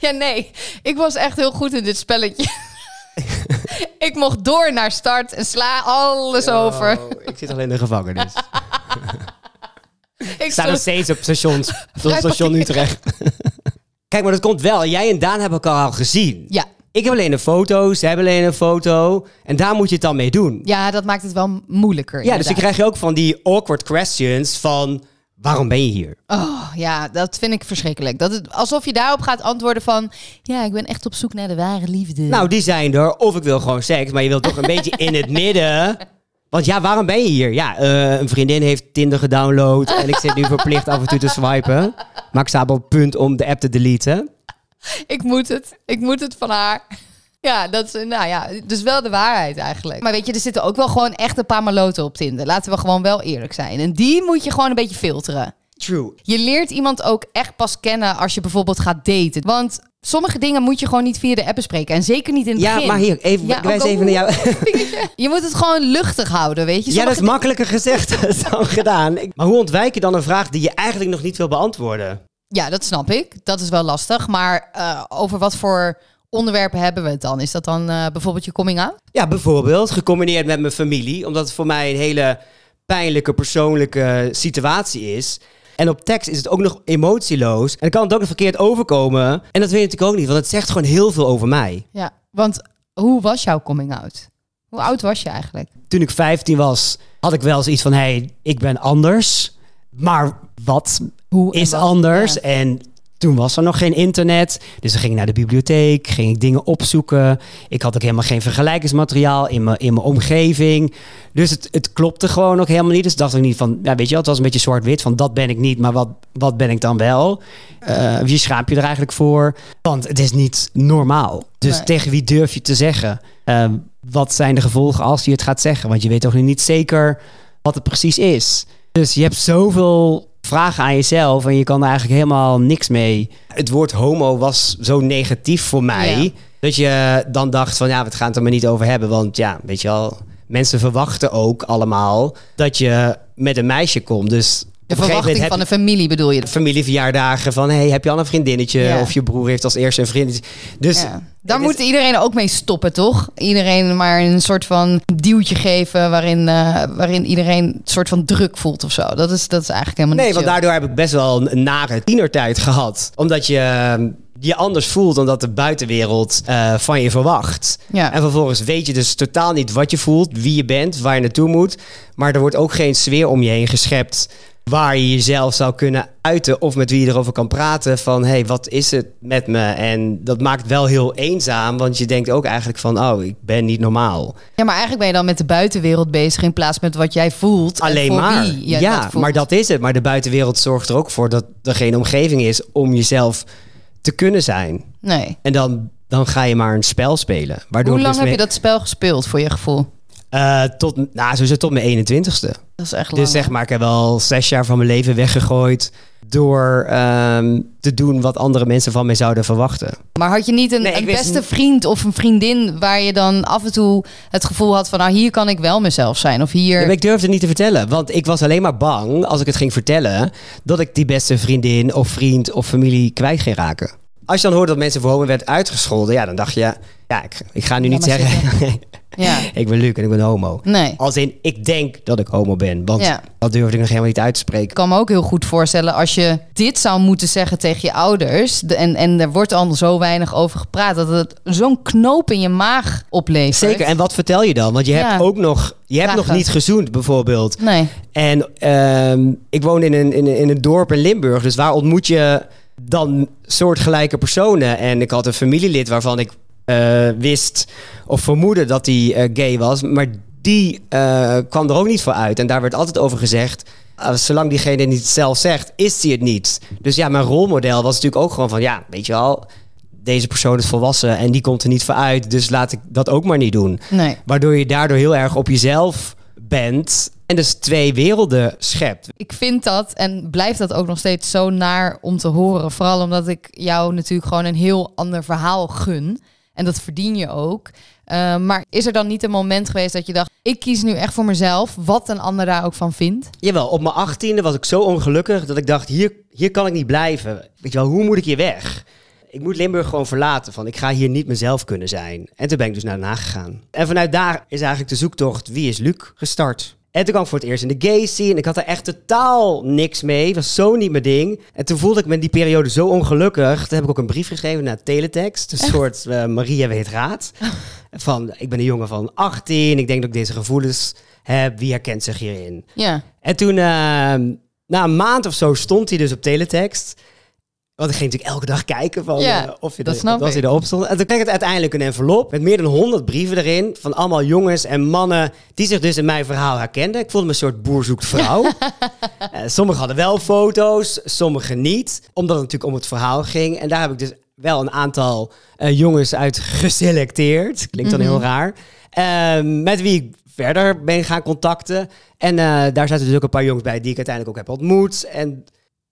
C: Ja, nee. Ik was echt heel goed in dit spelletje. ik mocht door naar start en sla alles over.
B: Oh, ik zit al in de gevangenis. Ik
C: Ik
B: sta nog
C: stond-
B: steeds op stations, op
C: Vrij
B: station Utrecht. Kijk, maar dat komt wel. Jij en Daan hebben elkaar al gezien.
C: Ja.
B: Ik heb alleen een foto, ze hebben alleen een foto. En daar moet je het dan mee doen.
C: ja, dat maakt het wel moeilijker.
B: Ja, dus dan krijg je ook van die awkward questions van... Waarom ben je hier?
C: Oh, ja, dat vind ik verschrikkelijk. Dat het, alsof je daarop gaat antwoorden van... Ja, ik ben echt op zoek naar de ware liefde.
B: Nou, die zijn er. Of ik wil gewoon seks, maar je wilt toch een beetje in het midden. Want ja, waarom ben je hier? Ja, eh, een vriendin heeft Tinder gedownload en ik zit nu verplicht af en toe te swipen. Maak Sabel punt om de app te deleten.
C: Ik moet het. Ik moet het van haar. Ja, dat is, nou ja, dus wel de waarheid eigenlijk. Maar weet je, er zitten ook wel gewoon echt een paar maloten op Tinder. Laten we gewoon wel eerlijk zijn. En die moet je gewoon een beetje filteren.
B: True.
C: Je leert iemand ook echt pas kennen als je bijvoorbeeld gaat daten. Want sommige dingen moet je gewoon niet via de app bespreken. En zeker niet in het
B: Ja,
C: begin.
B: maar hier, even,
C: Ja,
B: ik wijs
C: ook al-
B: even naar jou.
C: Je moet het gewoon luchtig houden, weet je.
B: Ja, dat is
C: Sommige
B: makkelijker gezegd dan gedaan. Ik- Maar hoe ontwijk je dan een vraag die je eigenlijk nog niet wil beantwoorden?
C: di- ja, dat snap ik. Dat is wel lastig. Maar eh, over wat voor onderwerpen hebben we het dan? Is dat dan eh, bijvoorbeeld je coming out?
B: Ja, bijvoorbeeld gecombineerd met mijn familie, omdat het voor mij een hele pijnlijke persoonlijke situatie is. En op tekst is het ook nog emotieloos. En dan kan het ook nog verkeerd overkomen. En dat weet je natuurlijk ook niet, want het zegt gewoon heel veel over mij.
C: Ja, want hoe was jouw coming out? Hoe oud was je eigenlijk?
B: Toen ik 15 was, had ik wel zoiets van: hé, hey, ik ben anders. Maar wat
C: Hoe en
B: is
C: wat?
B: anders?
C: Ja.
B: En toen was er nog geen internet. Dus dan ging ik naar de bibliotheek, ging ik dingen opzoeken. Ik had ook helemaal geen vergelijkingsmateriaal in mijn, in mijn omgeving. Dus het, het klopte gewoon ook helemaal niet. Dus dacht ik niet van, ja, weet je wel, het was een beetje zwart-wit. Van dat ben ik niet, maar wat, wat ben ik dan wel? Eh, wie schaap je er eigenlijk voor? Want het is niet normaal. Dus
C: Nee.
B: tegen wie durf je te zeggen? Ehm, wat zijn de gevolgen als je het gaat zeggen? Want je weet toch niet zeker wat het precies is. Dus je hebt zoveel vragen aan jezelf en je kan er eigenlijk helemaal niks mee. Het woord homo was zo negatief voor mij.
C: Ja.
B: Dat je dan dacht van ja, we gaan het er maar niet over hebben. Want ja, weet je wel, mensen verwachten ook allemaal dat je met een meisje komt. Dus
C: De
B: op een gegeven moment
C: verwachting
B: heb
C: van de familie bedoel je?
B: familieverjaardagen van hey, heb je al een vriendinnetje?
C: Ja.
B: Of je broer heeft als eerste een vriendinnetje. Dus
C: Ja. Daar
B: het
C: moet iedereen ook mee stoppen, toch? Iedereen maar een soort van duwtje geven waarin, eh, waarin iedereen een soort van druk voelt of zo. Dat is, dat is eigenlijk helemaal
B: Nee,
C: niet
B: want
C: chill.
B: daardoor heb ik best wel een- een nare tienertijd gehad. Omdat je ehm, je anders voelt dan dat de buitenwereld eh, van je verwacht.
C: Ja.
B: En vervolgens weet je dus totaal niet wat je voelt, wie je bent, waar je naartoe moet. Maar er wordt ook geen sfeer om je heen geschept waar je jezelf zou kunnen uiten of met wie je erover kan praten van hé, hey, wat is het met me? En dat maakt wel heel eenzaam, want je denkt ook eigenlijk van oh, ik ben niet normaal.
C: Ja, maar eigenlijk ben je dan met de buitenwereld bezig in plaats met wat jij voelt. en
B: Alleen
C: voor
B: maar.
C: wie jij
B: ja,
C: dat voelt.
B: maar dat is het. Maar de buitenwereld zorgt er ook voor dat er geen omgeving is om jezelf te kunnen zijn.
C: Nee.
B: En dan, dan ga je maar een spel spelen. Waardoor
C: Hoe
B: ik dus
C: lang heb je
B: mee-
C: dat spel gespeeld voor je gevoel?
B: Eh, tot, nou, sowieso tot mijn 21ste.
C: Dat is echt lang.
B: Dus zeg maar, ik heb wel zes jaar van mijn leven weggegooid. Door ehm, te doen wat andere mensen van mij zouden verwachten.
C: Maar had je niet een,
B: Nee, ik
C: een
B: wist
C: beste
B: niet-
C: vriend of een vriendin waar je dan af en toe het gevoel had van, nou hier kan ik wel mezelf zijn of hier.
B: Ja, maar ik durfde het niet te vertellen. Want ik was alleen maar bang, als ik het ging vertellen... dat ik die beste vriendin of vriend of familie kwijt ging raken. Als je dan hoorde dat mensen voor homo werd uitgescholden... ja, dan dacht je... ja, ik, ik ga nu
C: Ja,
B: niet
C: maar
B: zeggen...
C: Ja.
B: ik ben Luc en ik ben homo.
C: Nee.
B: Als in, ik denk dat ik homo ben. Want
C: Ja.
B: dat durfde ik nog helemaal niet uit te spreken.
C: Ik kan me ook heel goed voorstellen als je dit zou moeten zeggen tegen je ouders. de- en, en er wordt al zo weinig over gepraat. Dat het zo'n knoop in je maag oplevert.
B: Zeker, en wat vertel je dan? Want je hebt
C: Ja.
B: ook nog... Je hebt nog
C: Vragen.
B: niet gezoend, bijvoorbeeld.
C: Nee.
B: En ehm, ik woon in een, in, een- in een dorp in Limburg. Dus waar ontmoet je dan soortgelijke personen? En ik had een familielid waarvan ik eh, wist of vermoedde dat hij gay was. Maar die eh, kwam er ook niet voor uit. En daar werd altijd over gezegd. eh, zolang diegene niet zelf zegt, is hij het niet. Dus ja, mijn rolmodel was natuurlijk ook gewoon van... Ja, weet je wel, deze persoon is volwassen en die komt er niet voor uit. Dus laat ik dat ook maar niet doen.
C: Nee.
B: Waardoor je daardoor heel erg op jezelf bent. En dus twee werelden schept.
C: Ik vind dat en blijft dat ook nog steeds zo naar om te horen. Vooral omdat ik jou natuurlijk gewoon een heel ander verhaal gun. En dat verdien je ook. Eh, maar is er dan niet een moment geweest dat je dacht... ik kies nu echt voor mezelf, wat een ander daar ook van vindt?
B: Jawel, op mijn achttiende was ik zo ongelukkig dat ik dacht, hier, hier kan ik niet blijven. Weet je wel, hoe moet ik hier weg? Ik moet Limburg gewoon verlaten van, ik ga hier niet mezelf kunnen zijn. En toen ben ik dus naar Den Haag gegaan. En vanuit daar is eigenlijk de zoektocht, wie is Luc, gestart. En toen kwam ik voor het eerst in de gay scene. Ik had er echt totaal niks mee. was zo niet mijn ding. En toen voelde ik me in die periode zo ongelukkig. Toen heb ik ook een brief geschreven naar Teletext. Een soort eh, Maria weet raad. Van, ik ben een jongen van 18. Ik denk dat ik deze gevoelens heb. Wie herkent zich hierin?
C: Ja.
B: En toen, ehm, na een maand of zo, stond hij dus op teletext. Want ik ging natuurlijk elke dag kijken van,
C: Ja,
B: eh, of, je
C: dat
B: er-
C: snap
B: of hij
C: ik.
B: erop stond. En toen kreeg ik uiteindelijk een envelop met meer dan 100 brieven erin. Van allemaal jongens en mannen die zich dus in mijn verhaal herkenden. Ik voelde me een soort boer zoekt vrouw. Eh, sommigen hadden wel foto's, sommigen niet. Omdat het natuurlijk om het verhaal ging. En daar heb ik dus wel een aantal eh, jongens uit geselecteerd. Klinkt dan heel raar. Ehm, met wie ik verder ben gaan contacten. En eh, daar zaten dus ook een paar jongens bij die ik uiteindelijk ook heb ontmoet. En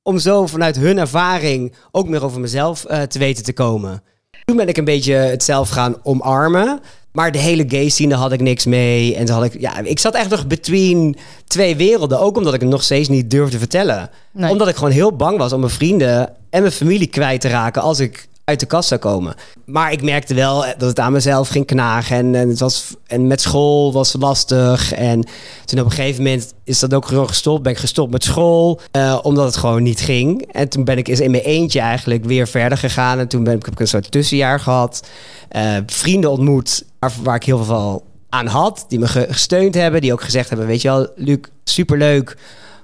B: om zo vanuit hun ervaring ook meer over mezelf eh, te weten te komen. Toen ben ik een beetje het zelf gaan omarmen. Maar de hele gay scene, daar had ik niks mee. En toen had ik, ja, ik zat echt nog between twee werelden. Ook omdat ik het nog steeds niet durfde vertellen.
C: Nee.
B: Omdat ik gewoon heel bang was om mijn vrienden en mijn familie kwijt te raken als ik uit de kast zou komen. Maar ik merkte wel dat het aan mezelf ging knagen. En, en, het was, en met school was lastig. En toen op een gegeven moment is dat ook gewoon gestopt. Ben ik gestopt met school, eh, omdat het gewoon niet ging. En toen ben ik eens in mijn eentje eigenlijk weer verder gegaan. En toen ben ik, heb ik een soort tussenjaar gehad. Eh, vrienden ontmoet, waar, waar ik heel veel aan had. Die me ge- gesteund hebben. Die ook gezegd hebben, weet je wel, Luc, superleuk.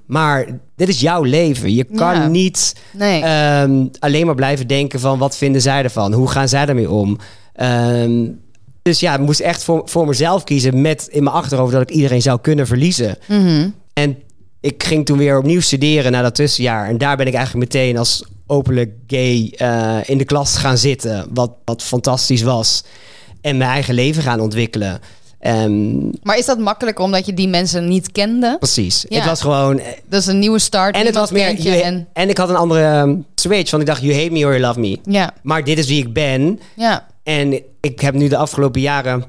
B: Maar dit is jouw leven. Je kan
C: Ja.
B: niet
C: Nee.
B: ehm, alleen maar blijven denken van wat vinden zij ervan? Hoe gaan zij daarmee om? Ehm, dus ja, ik moest echt voor, voor mezelf kiezen met in mijn achterhoofd dat ik iedereen zou kunnen verliezen.
C: Mhm.
B: En ik ging toen weer opnieuw studeren na dat tussenjaar. En daar ben ik eigenlijk meteen als openlijk gay eh, in de klas gaan zitten. Wat, wat fantastisch was. En mijn eigen leven gaan ontwikkelen. Ehm,
C: Maar is dat makkelijker omdat je die mensen niet kende?
B: precies.
C: Ja.
B: Het was gewoon... eh,
C: Dat is een nieuwe start.
B: En het was
C: niemand
B: meer...
C: kent je
B: you-
C: en,
B: En ik had een andere ehm, switch. Want ik dacht, you hate me or you love me.
C: ja,
B: Maar dit is wie ik ben.
C: ja.
B: En ik heb nu de afgelopen jaren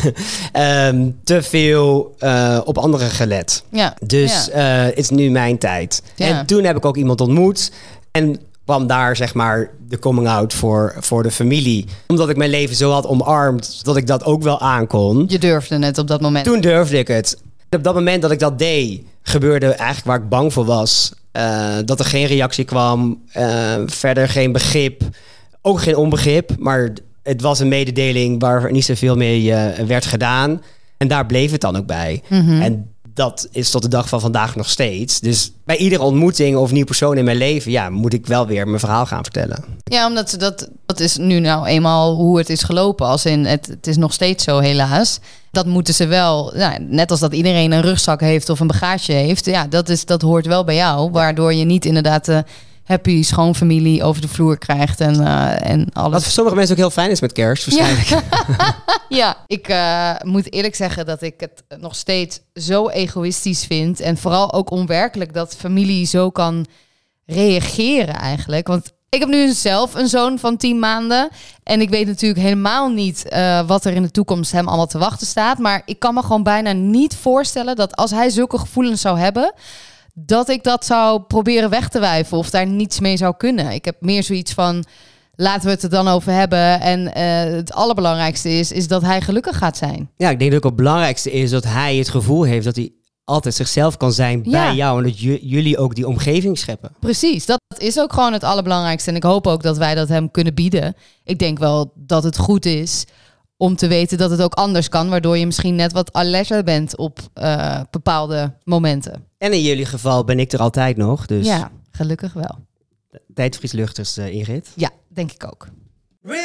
B: ehm, te veel eh, op anderen gelet.
C: Ja.
B: Dus
C: Ja.
B: eh, het is nu mijn tijd.
C: Ja.
B: En toen heb ik ook iemand ontmoet. En kwam daar zeg maar de coming out voor, voor de familie. Omdat ik mijn leven zo had omarmd dat ik dat ook wel aankon.
C: Je durfde het op dat moment.
B: Toen durfde ik het. Op dat moment dat ik dat deed, gebeurde eigenlijk waar ik bang voor was. Eh, dat er geen reactie kwam, eh, verder geen begrip, ook geen onbegrip. Maar het was een mededeling waar niet zoveel mee eh, werd gedaan. En daar bleef het dan ook bij. En dat is tot de dag van vandaag nog steeds. Dus bij iedere ontmoeting of nieuwe persoon in mijn leven, ja, moet ik wel weer mijn verhaal gaan vertellen.
C: Ja, omdat ze dat, dat is nu nou eenmaal hoe het is gelopen. Als in het, het is nog steeds zo, helaas. Dat moeten ze wel. Nou, net als dat iedereen een rugzak heeft of een bagage heeft. Ja, dat, is, dat hoort wel bij jou. Waardoor je niet inderdaad de happy schoonfamilie over de vloer krijgt en, eh, en
B: Wat
C: alles.
B: voor sommige mensen ook heel fijn is met kerst, waarschijnlijk.
C: Ja, ik eh, moet eerlijk zeggen dat ik het nog steeds zo egoïstisch vind. En vooral ook onwerkelijk dat familie zo kan reageren eigenlijk. Want ik heb nu zelf een zoon van 10 maanden. En ik weet natuurlijk helemaal niet eh, wat er in de toekomst hem allemaal te wachten staat. Maar ik kan me gewoon bijna niet voorstellen dat als hij zulke gevoelens zou hebben. Dat ik dat zou proberen weg te wijven of daar niets mee zou kunnen. Ik heb meer zoiets van. Laten we het er dan over hebben. En eh, het allerbelangrijkste is, is dat hij gelukkig gaat zijn.
B: Ja, ik denk dat ook het belangrijkste is dat hij het gevoel heeft dat hij altijd zichzelf kan zijn
C: Ja.
B: bij jou. En dat ju- jullie ook die omgeving scheppen.
C: Precies, dat is ook gewoon het allerbelangrijkste. En ik hoop ook dat wij dat hem kunnen bieden. Ik denk wel dat het goed is om te weten dat het ook anders kan. Waardoor je misschien net wat alerter bent op eh, bepaalde momenten.
B: En in jullie geval ben ik er altijd nog. Dus
C: Ja, gelukkig wel.
B: tijdvries luchters, eh, Ingrid.
C: Ja, denk ik ook.
B: Review!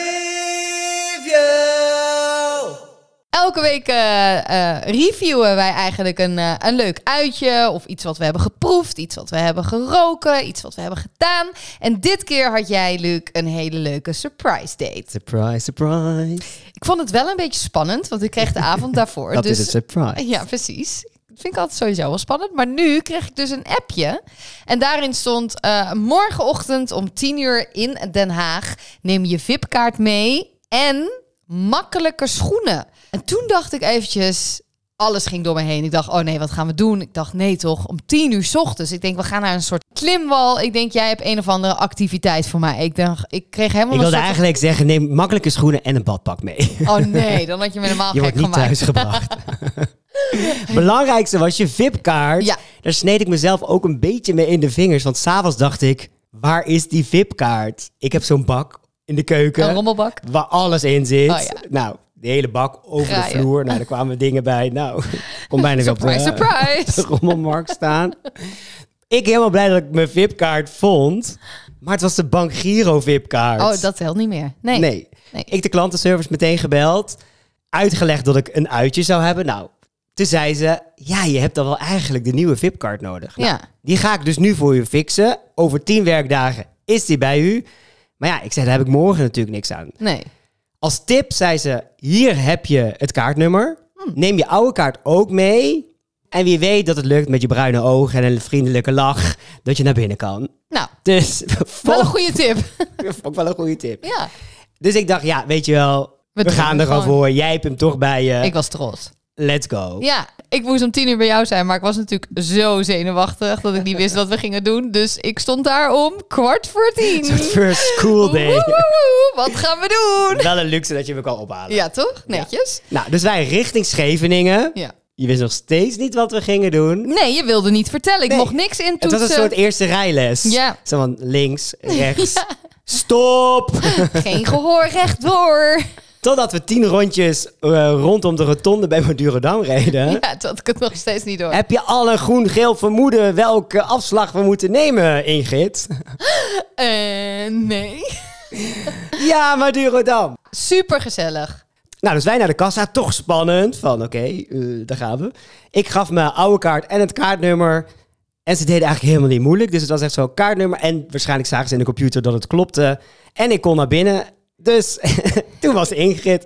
C: Elke week eh, eh, reviewen wij eigenlijk een, eh, een leuk uitje of iets wat we hebben geproefd, iets wat we hebben geroken, iets wat we hebben gedaan. En dit keer had jij, Luc, een hele leuke surprise date.
B: Surprise, surprise.
C: Ik vond het wel een beetje spannend, want ik kreeg de avond daarvoor.
B: dat
C: dus,
B: is het surprise.
C: Ja, precies. Dat vind ik altijd sowieso wel spannend. Maar nu kreeg ik dus een appje. En daarin stond eh, morgenochtend om 10 uur in Den Haag. Neem je VIP-kaart mee en makkelijke schoenen. En toen dacht ik eventjes... Alles ging door me heen. Ik dacht, oh nee, wat gaan we doen? Ik dacht, nee toch, om 10 uur 's ochtends. Ik denk, we gaan naar een soort klimwal. Ik denk, jij hebt een of andere activiteit voor mij. Ik dacht, ik kreeg helemaal
B: Ik
C: een
B: wilde
C: soort...
B: eigenlijk zeggen, neem makkelijke schoenen en een badpak mee.
C: Oh nee, dan had je me helemaal
B: Je
C: gek
B: wordt niet
C: gemaakt.
B: thuisgebracht. Belangrijkste was je VIP-kaart.
C: Ja.
B: Daar sneed ik mezelf ook een beetje mee in de vingers. Want s'avonds dacht ik, waar is die VIP-kaart? Ik heb zo'n bak in de keuken
C: Een Oh, rommelbak.
B: waar alles in zit.
C: Oh ja.
B: Nou, de hele bak over
C: Graaien.
B: de vloer. Nou, daar kwamen dingen bij. Nou, kom bijna weer op de,
C: Surprise, surprise.
B: de rommelmarkt staan. Ik helemaal blij dat ik mijn VIP-kaart vond. Maar het was de Bank Giro VIP-kaart.
C: Oh, dat telt niet meer. Nee.
B: Nee.
C: Nee.
B: Ik de klantenservice meteen gebeld. Uitgelegd dat ik een uitje zou hebben. Nou, toen zei ze... Ja, je hebt dan wel eigenlijk de nieuwe VIP-kaart nodig. Nou,
C: Ja.
B: Die ga ik dus nu voor je fixen. Over tien werkdagen is die bij u. Maar ja, ik zei, daar heb ik morgen natuurlijk niks aan.
C: Nee.
B: Als tip zei ze... Hier heb je het kaartnummer.
C: Hmm.
B: Neem je oude kaart ook mee. En wie weet dat het lukt met je bruine ogen en een vriendelijke lach... dat je naar binnen kan.
C: Nou,
B: Dus
C: wel een goede tip.
B: ook wel een goede tip.
C: ja.
B: Dus ik dacht, ja, weet je wel,
C: We
B: we,
C: doen
B: gaan
C: het
B: er gewoon
C: gewoon.
B: voor. Jij hebt hem toch bij je.
C: Ik was trots.
B: Let's go.
C: Ja, ik moest om tien uur bij jou zijn, maar ik was natuurlijk zo zenuwachtig dat ik niet wist wat we gingen doen. Dus ik stond daar om kwart voor tien.
B: Een soort First school day.
C: Woehoe, Wat gaan we doen?
B: wel een luxe dat je me kan ophalen.
C: Ja, toch? Netjes.
B: Nou, dus wij richting Scheveningen.
C: Ja.
B: Je wist nog steeds niet wat we gingen doen.
C: Nee, je wilde niet vertellen. Ik
B: Nee.
C: mocht niks
B: Het
C: intoetsen.
B: was een soort eerste rijles.
C: Ja.
B: Zo van links, rechts. Stop!
C: Geen gehoor recht door.
B: Totdat we tien rondjes eh, rondom de rotonde bij Madurodam reden.
C: Ja, dat had ik het nog steeds niet door.
B: Heb je al een groen-geel vermoeden welke afslag we moeten nemen, Ingrid?
C: Eh, nee.
B: ja, Madurodam.
C: Super gezellig.
B: Nou, dus wij naar de kassa, toch spannend. Van oké, eh, daar gaan we. Ik gaf mijn oude kaart en het kaartnummer. En ze deden eigenlijk helemaal niet moeilijk. Dus het was echt zo kaartnummer. En waarschijnlijk zagen ze in de computer dat het klopte. En ik kon naar binnen. Dus toen was Ingrid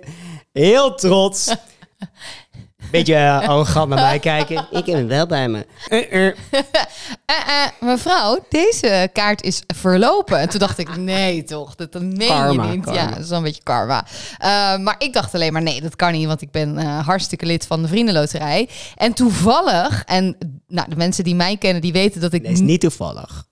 B: heel trots. Beetje eh, arrogant naar mij kijken. Ik heb hem wel bij me. Eh, eh.
C: Eh, eh, mevrouw, deze kaart is verlopen. En toen dacht ik, nee toch, dat meen
B: Karma,
C: je niet.
B: karma.
C: Ja, dat is wel een beetje karma. Eh, maar ik dacht alleen maar, nee, dat kan niet, want ik ben eh, hartstikke lid van de Vriendenloterij. En toevallig, en nou, de mensen die mij kennen, die weten dat ik...
B: Nee, is niet toevallig.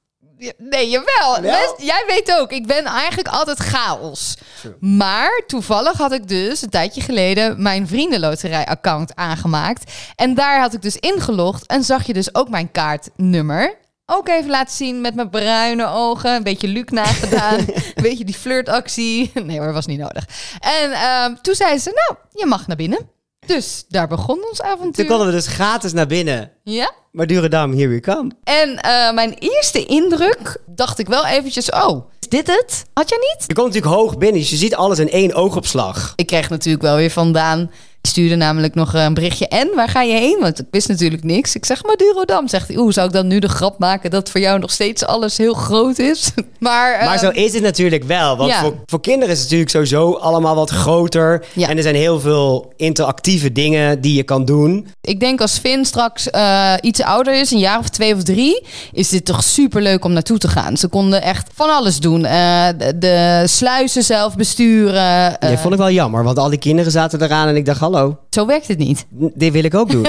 C: Nee, jawel.
B: Wel?
C: Best- jij weet ook, ik ben eigenlijk altijd chaos. Maar toevallig had ik dus een tijdje geleden mijn vriendenloterij-account aangemaakt. En daar had ik dus ingelogd en zag je dus ook mijn kaartnummer. Ook even laten zien met mijn bruine ogen. Een beetje Luc nagedaan. een beetje die flirtactie. Nee hoor, was niet nodig. En ehm, toen zei ze, nou, je mag naar binnen. Dus daar begon ons
B: Toen
C: avontuur.
B: konden we dus gratis naar binnen.
C: Ja.
B: Maar Durendam, here we come.
C: En eh, mijn eerste indruk dacht ik wel eventjes, oh, is dit het? Had jij niet?
B: Je komt natuurlijk hoog binnen, dus je ziet alles in één oogopslag.
C: Ik kreeg natuurlijk wel weer vandaan. Ik stuurde namelijk nog een berichtje. En waar ga je heen? Want ik wist natuurlijk niks. Ik zeg maar Durodam. Zegt hij, oeh, zou ik dan nu de grap maken dat voor jou nog steeds alles heel groot is? Maar, eh,
B: Maar zo is het natuurlijk wel. Want
C: ja.
B: voor, voor kinderen is het natuurlijk sowieso allemaal wat groter.
C: Ja.
B: En er zijn heel veel interactieve dingen die je kan doen.
C: ik denk als Finn straks eh, iets ouder is, een jaar of twee of drie, is dit toch super leuk om naartoe te gaan. Ze konden echt van alles doen. Eh, de, de sluizen zelf besturen. Eh,
B: Dat vond ik wel jammer, want al die kinderen zaten eraan en ik dacht, hallo,
C: Zo werkt het niet.
B: n- dit wil ik ook doen.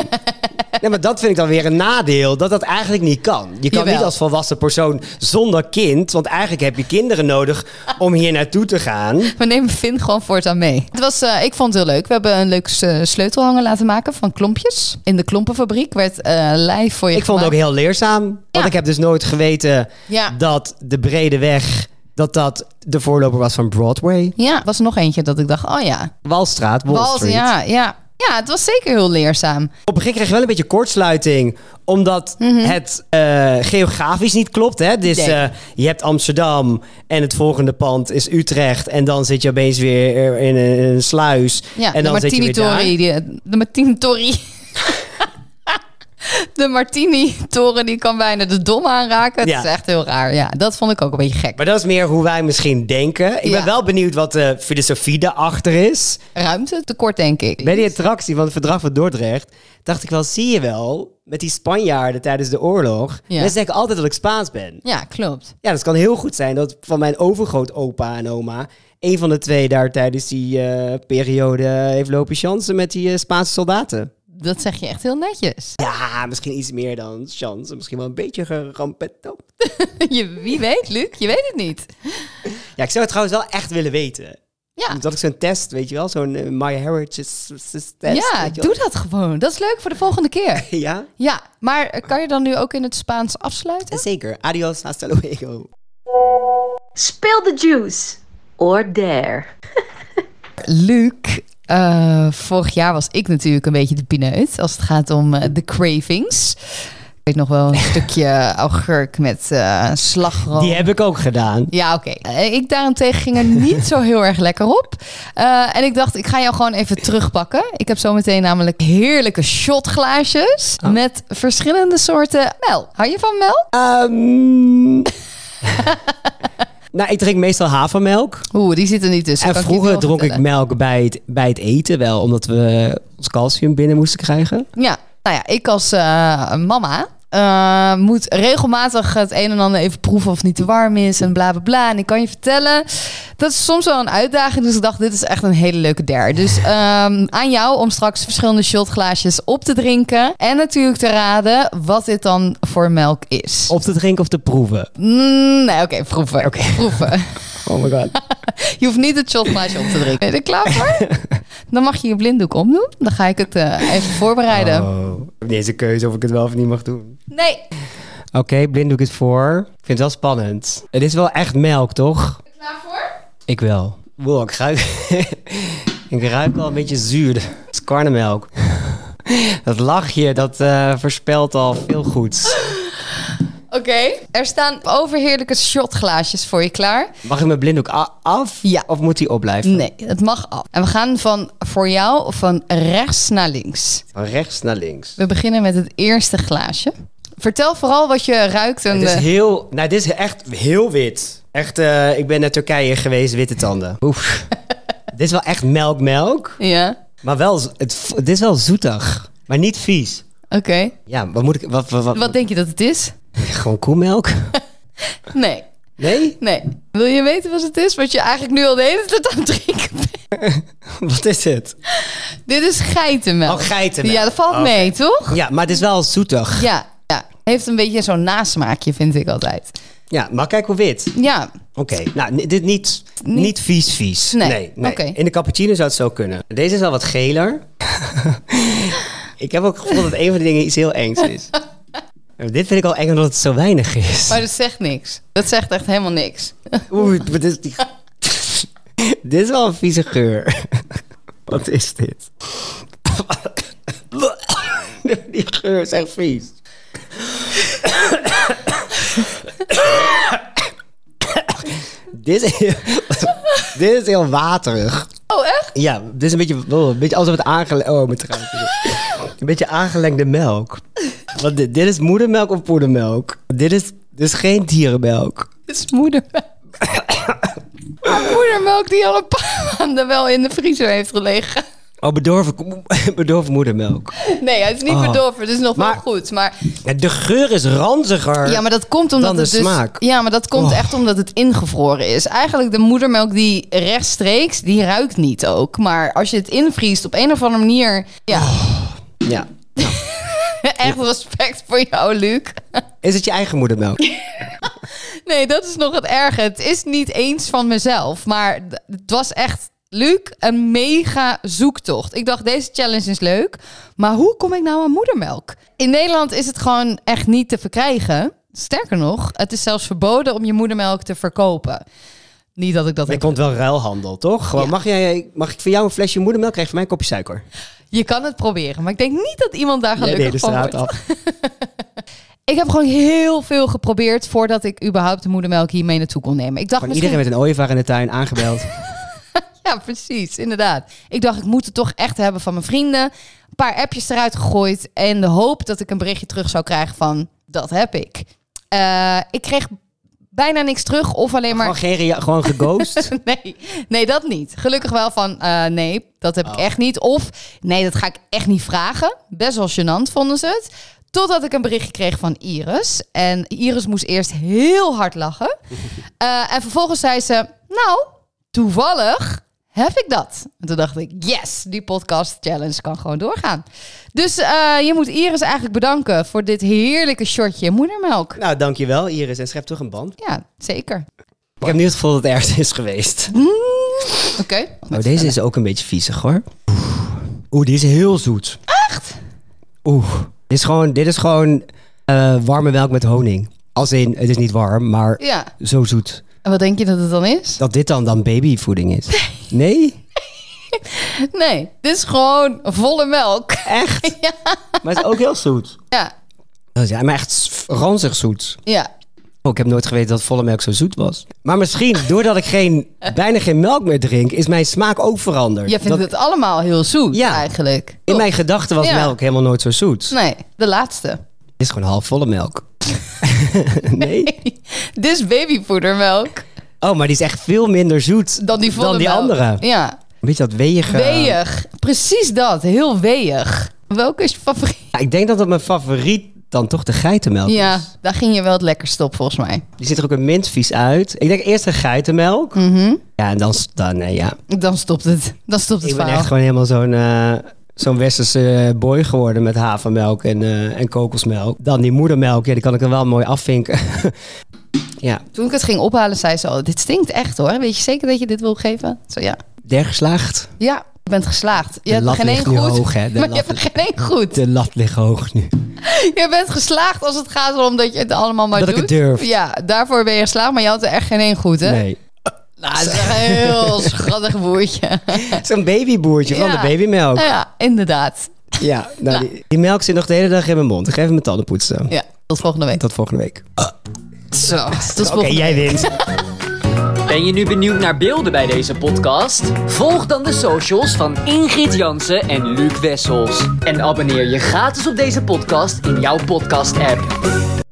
B: nee, maar dat vind ik dan weer een nadeel, dat dat eigenlijk niet kan. Je kan
C: Jawel.
B: niet als volwassen persoon zonder kind, want eigenlijk heb je kinderen nodig om hier naartoe te gaan.
C: We nemen Finn gewoon voortaan mee. Het was, eh, ik vond het heel leuk. We hebben een leuk eh, sleutelhanger laten maken van klompjes. In de klompenfabriek werd eh lijf voor je
B: Ik vond het ook
C: gemaakt.
B: heel leerzaam, want
C: Ja.
B: ik heb dus nooit geweten
C: Ja.
B: dat de brede weg, dat dat de voorloper was van Broadway.
C: Ja, er was er nog eentje dat ik dacht, oh ja.
B: Walstraat, Wall
C: Wals,
B: Street.
C: ja, ja. ja, het was zeker heel leerzaam.
B: Op een gegeven moment kreeg je wel een beetje kortsluiting, omdat het eh, geografisch niet klopt. Hè? Dus
C: Mhm. Nee.
B: eh, je hebt Amsterdam en het volgende pand is Utrecht. En dan zit je opeens weer in een, in een sluis.
C: Ja,
B: en
C: de
B: dan zit je
C: Martini
B: weer daar.
C: Tori. die- eh, De Martini Tori. De Martini-toren die kan bijna de dom aanraken.
B: Ja.
C: Dat is echt heel raar. Ja, dat vond ik ook een beetje gek.
B: Maar dat is meer hoe wij misschien denken. Ik ben
C: Ja.
B: wel benieuwd wat de filosofie daarachter is.
C: Ruimte tekort, denk ik.
B: Bij die attractie van het verdrag van Dordrecht dacht ik wel, zie je wel, met die Spanjaarden tijdens de oorlog.
C: Ja.
B: Mensen denken altijd dat ik Spaans ben.
C: Ja, klopt.
B: Ja, dus het kan heel goed zijn dat van mijn overgrootopa en oma... een van de twee daar tijdens die eh, periode heeft lopen chansen met die eh, Spaanse soldaten.
C: Dat zeg je echt heel netjes.
B: Ja, misschien iets meer dan chansen. Misschien wel een beetje gerampet. op.
C: Je, wie weet, Luc? Je weet het niet.
B: Ja, ik zou het trouwens wel echt willen weten.
C: Ja,
B: Dat ik zo'n test, weet je wel, zo'n eh, My Heritage s- s- test.
C: ja
B: weet je wel.
C: doe dat gewoon. Dat is leuk voor de volgende keer.
B: Ja,
C: Ja, maar eh, kan je dan nu ook in het Spaans afsluiten?
B: zeker. Adios, hasta luego.
D: Spill the juice or dare.
C: Luc, eh, vorig jaar was ik natuurlijk een beetje de pineut als het gaat om eh, de cravings. Ik weet nog wel een stukje augurk met eh, slagroom.
B: Die heb ik ook gedaan.
C: Ja, oké. Eh, Ik daarentegen ging er niet zo heel erg lekker op. Eh, en ik dacht, ik ga jou gewoon even terugpakken. Ik heb zometeen namelijk heerlijke shotglaasjes met verschillende soorten melk. Hou je van melk?
B: Ehm. nou, ik drink meestal havermelk.
C: Oeh, die zitten niet tussen.
B: En
C: kan ik je
B: vroeger
C: wel
B: dronk ik
C: vertellen.
B: melk bij het, bij het eten wel, omdat we ons calcium binnen moesten krijgen.
C: Ja, nou ja, ik als eh, mama eh, moet regelmatig het een en ander even proeven of het niet te warm is en bla bla bla. En ik kan je vertellen, dat is soms wel een uitdaging. Dus ik dacht, dit is echt een hele leuke dare. Dus ehm, aan jou om straks verschillende shotglaasjes op te drinken. En natuurlijk te raden wat dit dan voor melk is.
B: Op te drinken of te proeven.
C: Mm, nee, oké, proeven. proeven.
B: Oh my god.
C: Je hoeft niet het shotglaasje op te drinken. Ben je er klaar voor? Dan mag je je blinddoek omdoen. Dan ga ik het eh, even voorbereiden.
B: Oh, ik heb niet eens een keuze of ik het wel of niet mag doen.
C: Nee,
B: Oké, blinddoek het voor. Ik vind het wel spannend. Het is wel echt melk, toch?
C: klaar voor?
B: Ik wel. Wow, ik ruik... ik ruik al een beetje zuur. Het is karnemelk. dat lachje, dat eh, voorspelt al veel goeds.
C: Oké. Er staan overheerlijke shotglaasjes voor je klaar.
B: Mag ik mijn blinddoek a- af?
C: Ja.
B: Of moet die opblijven?
C: Nee, het mag af. En we gaan van voor jou van rechts naar links.
B: Van rechts naar links.
C: We beginnen met het eerste glaasje. Vertel vooral wat je ruikt en eh,
B: Het is
C: de-
B: heel, nou, dit is echt heel wit. Echt, eh, ik ben naar Turkije geweest, witte tanden. Oef. dit is wel echt melk, melk.
C: Ja.
B: Maar wel, z- het, v- het is wel zoetig. Maar niet vies.
C: Oké.
B: Ja, wat moet ik... Wat, wat, wat-
C: Wat denk je dat het is?
B: Gewoon koemelk?
C: Nee.
B: Nee?
C: Nee. Wil je weten wat het is? Wat je eigenlijk nu al de hele tijd aan het drinken bent.
B: Wat is het?
C: Dit is geitenmelk.
B: Oh, geitenmelk.
C: Ja, dat valt
B: Oké.
C: mee, toch?
B: Ja, maar het is wel zoetig.
C: Ja. ja. Heeft een beetje zo'n nasmaakje, vind ik altijd.
B: Ja, maar kijk hoe wit.
C: Ja.
B: Oké, nou, ni- dit niet, niet, vies vies.
C: Nee, oké.
B: Oké. In de cappuccino zou het zo kunnen. Deze is wel wat geler. ik heb ook het gevoel dat een van de dingen iets heel engs is. dit vind ik al eng omdat het zo weinig is.
C: Maar dat zegt niks. Dat zegt echt helemaal niks.
B: Oeh, dit is, die- dit is wel een vieze geur. Wat is dit? die geur is echt vies. dit, is, dit is heel waterig.
C: Oh, echt?
B: Ja, dit is een beetje, oh, een beetje alsof het aangelengd... Oh, mijn traantje. Een beetje aangelengde melk. Want dit, dit is moedermelk of poedermelk. Dit is, dit is geen dierenmelk.
C: Dit is moedermelk. Maar moedermelk die al een paar maanden wel in de vriezer heeft gelegen.
B: Oh, bedorven, bedorven moedermelk.
C: Nee, hij is niet
B: Oh.
C: bedorven. Het is nog
B: Maar-
C: wel goed. Maar,
B: De geur is ranziger.
C: ja, maar dat komt omdat
B: dan de
C: het dus,
B: smaak.
C: Ja, maar dat komt
B: Oh.
C: echt omdat het ingevroren is. Eigenlijk de moedermelk die rechtstreeks, die ruikt niet ook. Maar als je het invriest op een of andere manier... Ja,
B: Oh. Ja.
C: echt respect voor jou, Luc.
B: Is het je eigen moedermelk?
C: Nee, dat is nog het erge. Het is niet eens van mezelf. Maar d- het was echt, Luc, een mega zoektocht. Ik dacht, deze challenge is leuk. Maar hoe kom ik nou aan moedermelk? In Nederland is het gewoon echt niet te verkrijgen. Sterker nog, het is zelfs verboden om je moedermelk te verkopen. Niet dat ik dat
B: Er
C: heb.
B: komt wel ruilhandel, toch? Gewoon, mag, jij, mag ik van jou een flesje moedermelk? Krijg je van mij een kopje suiker?
C: Je kan het proberen, maar ik denk niet dat iemand daar
B: Jij
C: gelukkig
B: deed de
C: van
B: straat
C: wordt.
B: af.
C: Ik heb gewoon heel veel geprobeerd voordat ik überhaupt de moedermelk hiermee naartoe kon nemen. Ik dacht
B: Gewoon
C: misschien...
B: iedereen met een ooievaar in de tuin aangebeld.
C: Ja, precies, inderdaad. Ik dacht, ik moet het toch echt hebben van mijn vrienden. Een paar appjes eruit gegooid en de hoop dat ik een berichtje terug zou krijgen van dat heb ik. Eh, ik kreeg bijna niks terug of alleen maar...
B: Gewoon, geen rea- gewoon geghost.
C: Nee, nee, dat niet. Gelukkig wel van eh, nee, dat heb ik echt niet. Of nee, dat ga ik echt niet vragen. Best wel gênant vonden ze het. Totdat ik een berichtje kreeg van Iris. En Iris moest eerst heel hard lachen. Eh, en vervolgens zei ze: Nou, toevallig heb ik dat. En toen dacht ik: Yes, die podcast challenge kan gewoon doorgaan. Dus eh, je moet Iris eigenlijk bedanken voor dit heerlijke shotje moedermelk.
B: nou, dankjewel Iris. En schep toch een band.
C: Ja, zeker.
B: Ik heb nu het gevoel dat het ergens is geweest.
C: Oké.
B: Oh, deze is ook een beetje viezig hoor. Oeh, die is heel zoet. Echt? Oeh. Dit is gewoon, dit is gewoon eh, warme melk met honing. Als in, het is niet warm, maar
C: Ja.
B: zo zoet.
C: En wat denk je dat het dan is?
B: Dat dit dan, dan babyvoeding is. Nee?
C: Nee, dit is gewoon volle melk.
B: Echt? Maar het is ook heel zoet.
C: Ja,
B: Oh, Ja, maar echt s- ranzig zoet.
C: ja.
B: Oh, ik heb nooit geweten dat volle melk zo zoet was. Maar misschien, doordat ik geen, bijna geen melk meer drink, is mijn smaak ook veranderd.
C: Jij vindt
B: Dat-
C: het allemaal heel zoet
B: Ja.
C: eigenlijk.
B: in mijn gedachten was
C: Ja. Nou.
B: melk helemaal nooit zo zoet.
C: Nee, de laatste.
B: Dit is gewoon half volle melk. nee?
C: Dit is babypoedermelk.
B: Oh, maar die is echt veel minder zoet
C: Dan die volle melk.
B: andere.
C: Ja,
B: Weet je dat weeige...
C: weeg. Precies dat, heel weeg. Welke is je favoriet?
B: Ja, ik denk dat dat mijn favoriet dan toch de geitenmelk
C: Ja,
B: is.
C: daar ging je wel het lekkerst op volgens mij.
B: Die ziet er ook een mintvies uit. Ik denk eerst de geitenmelk.
C: Mhm.
B: Ja, en dan... dan eh, ja.
C: Dan stopt het. Dan stopt het
B: Ik ben
C: verhaal.
B: echt gewoon helemaal zo'n... eh, Zo'n westerse eh, boy geworden met havermelk en, eh, en kokosmelk. Dan die moedermelk, ja, die kan ik er wel mooi afvinken. ja,
C: Toen ik het ging ophalen zei ze al, dit stinkt echt hoor. Weet je zeker dat je dit wil geven? Zo ja.
B: der geslaagd.
C: Ja, je bent geslaagd. Je hebt er
B: lat
C: geen één
B: ligt nu
C: goed.
B: hoog, hè? De
C: maar je
B: lat
C: hebt er geen één goed.
B: De lat ligt hoog nu.
C: Je bent geslaagd als het gaat erom dat je het allemaal maar
B: Dat ik
C: doet.
B: het durf.
C: Ja, daarvoor ben je geslaagd, maar je had er echt geen één goed, hè?
B: Nee.
C: Nou, dat is echt een heel schattig woordje.
B: Zo'n babyboertje van
C: Ja. Eh.
B: de babymelk.
C: Ja, inderdaad.
B: Ja, nou, Die, die melk zit nog de hele dag in mijn mond. Ik ga even mijn tanden poetsen.
C: Ja, tot volgende week.
B: Tot volgende week.
C: Zo, tot
B: Oké,
C: volgende
B: jij wint.
A: Ben je nu benieuwd naar beelden bij deze podcast? Volg dan de socials van Ingrid Jansen en Luc Wessels. En abonneer je gratis op deze podcast in jouw podcast-app.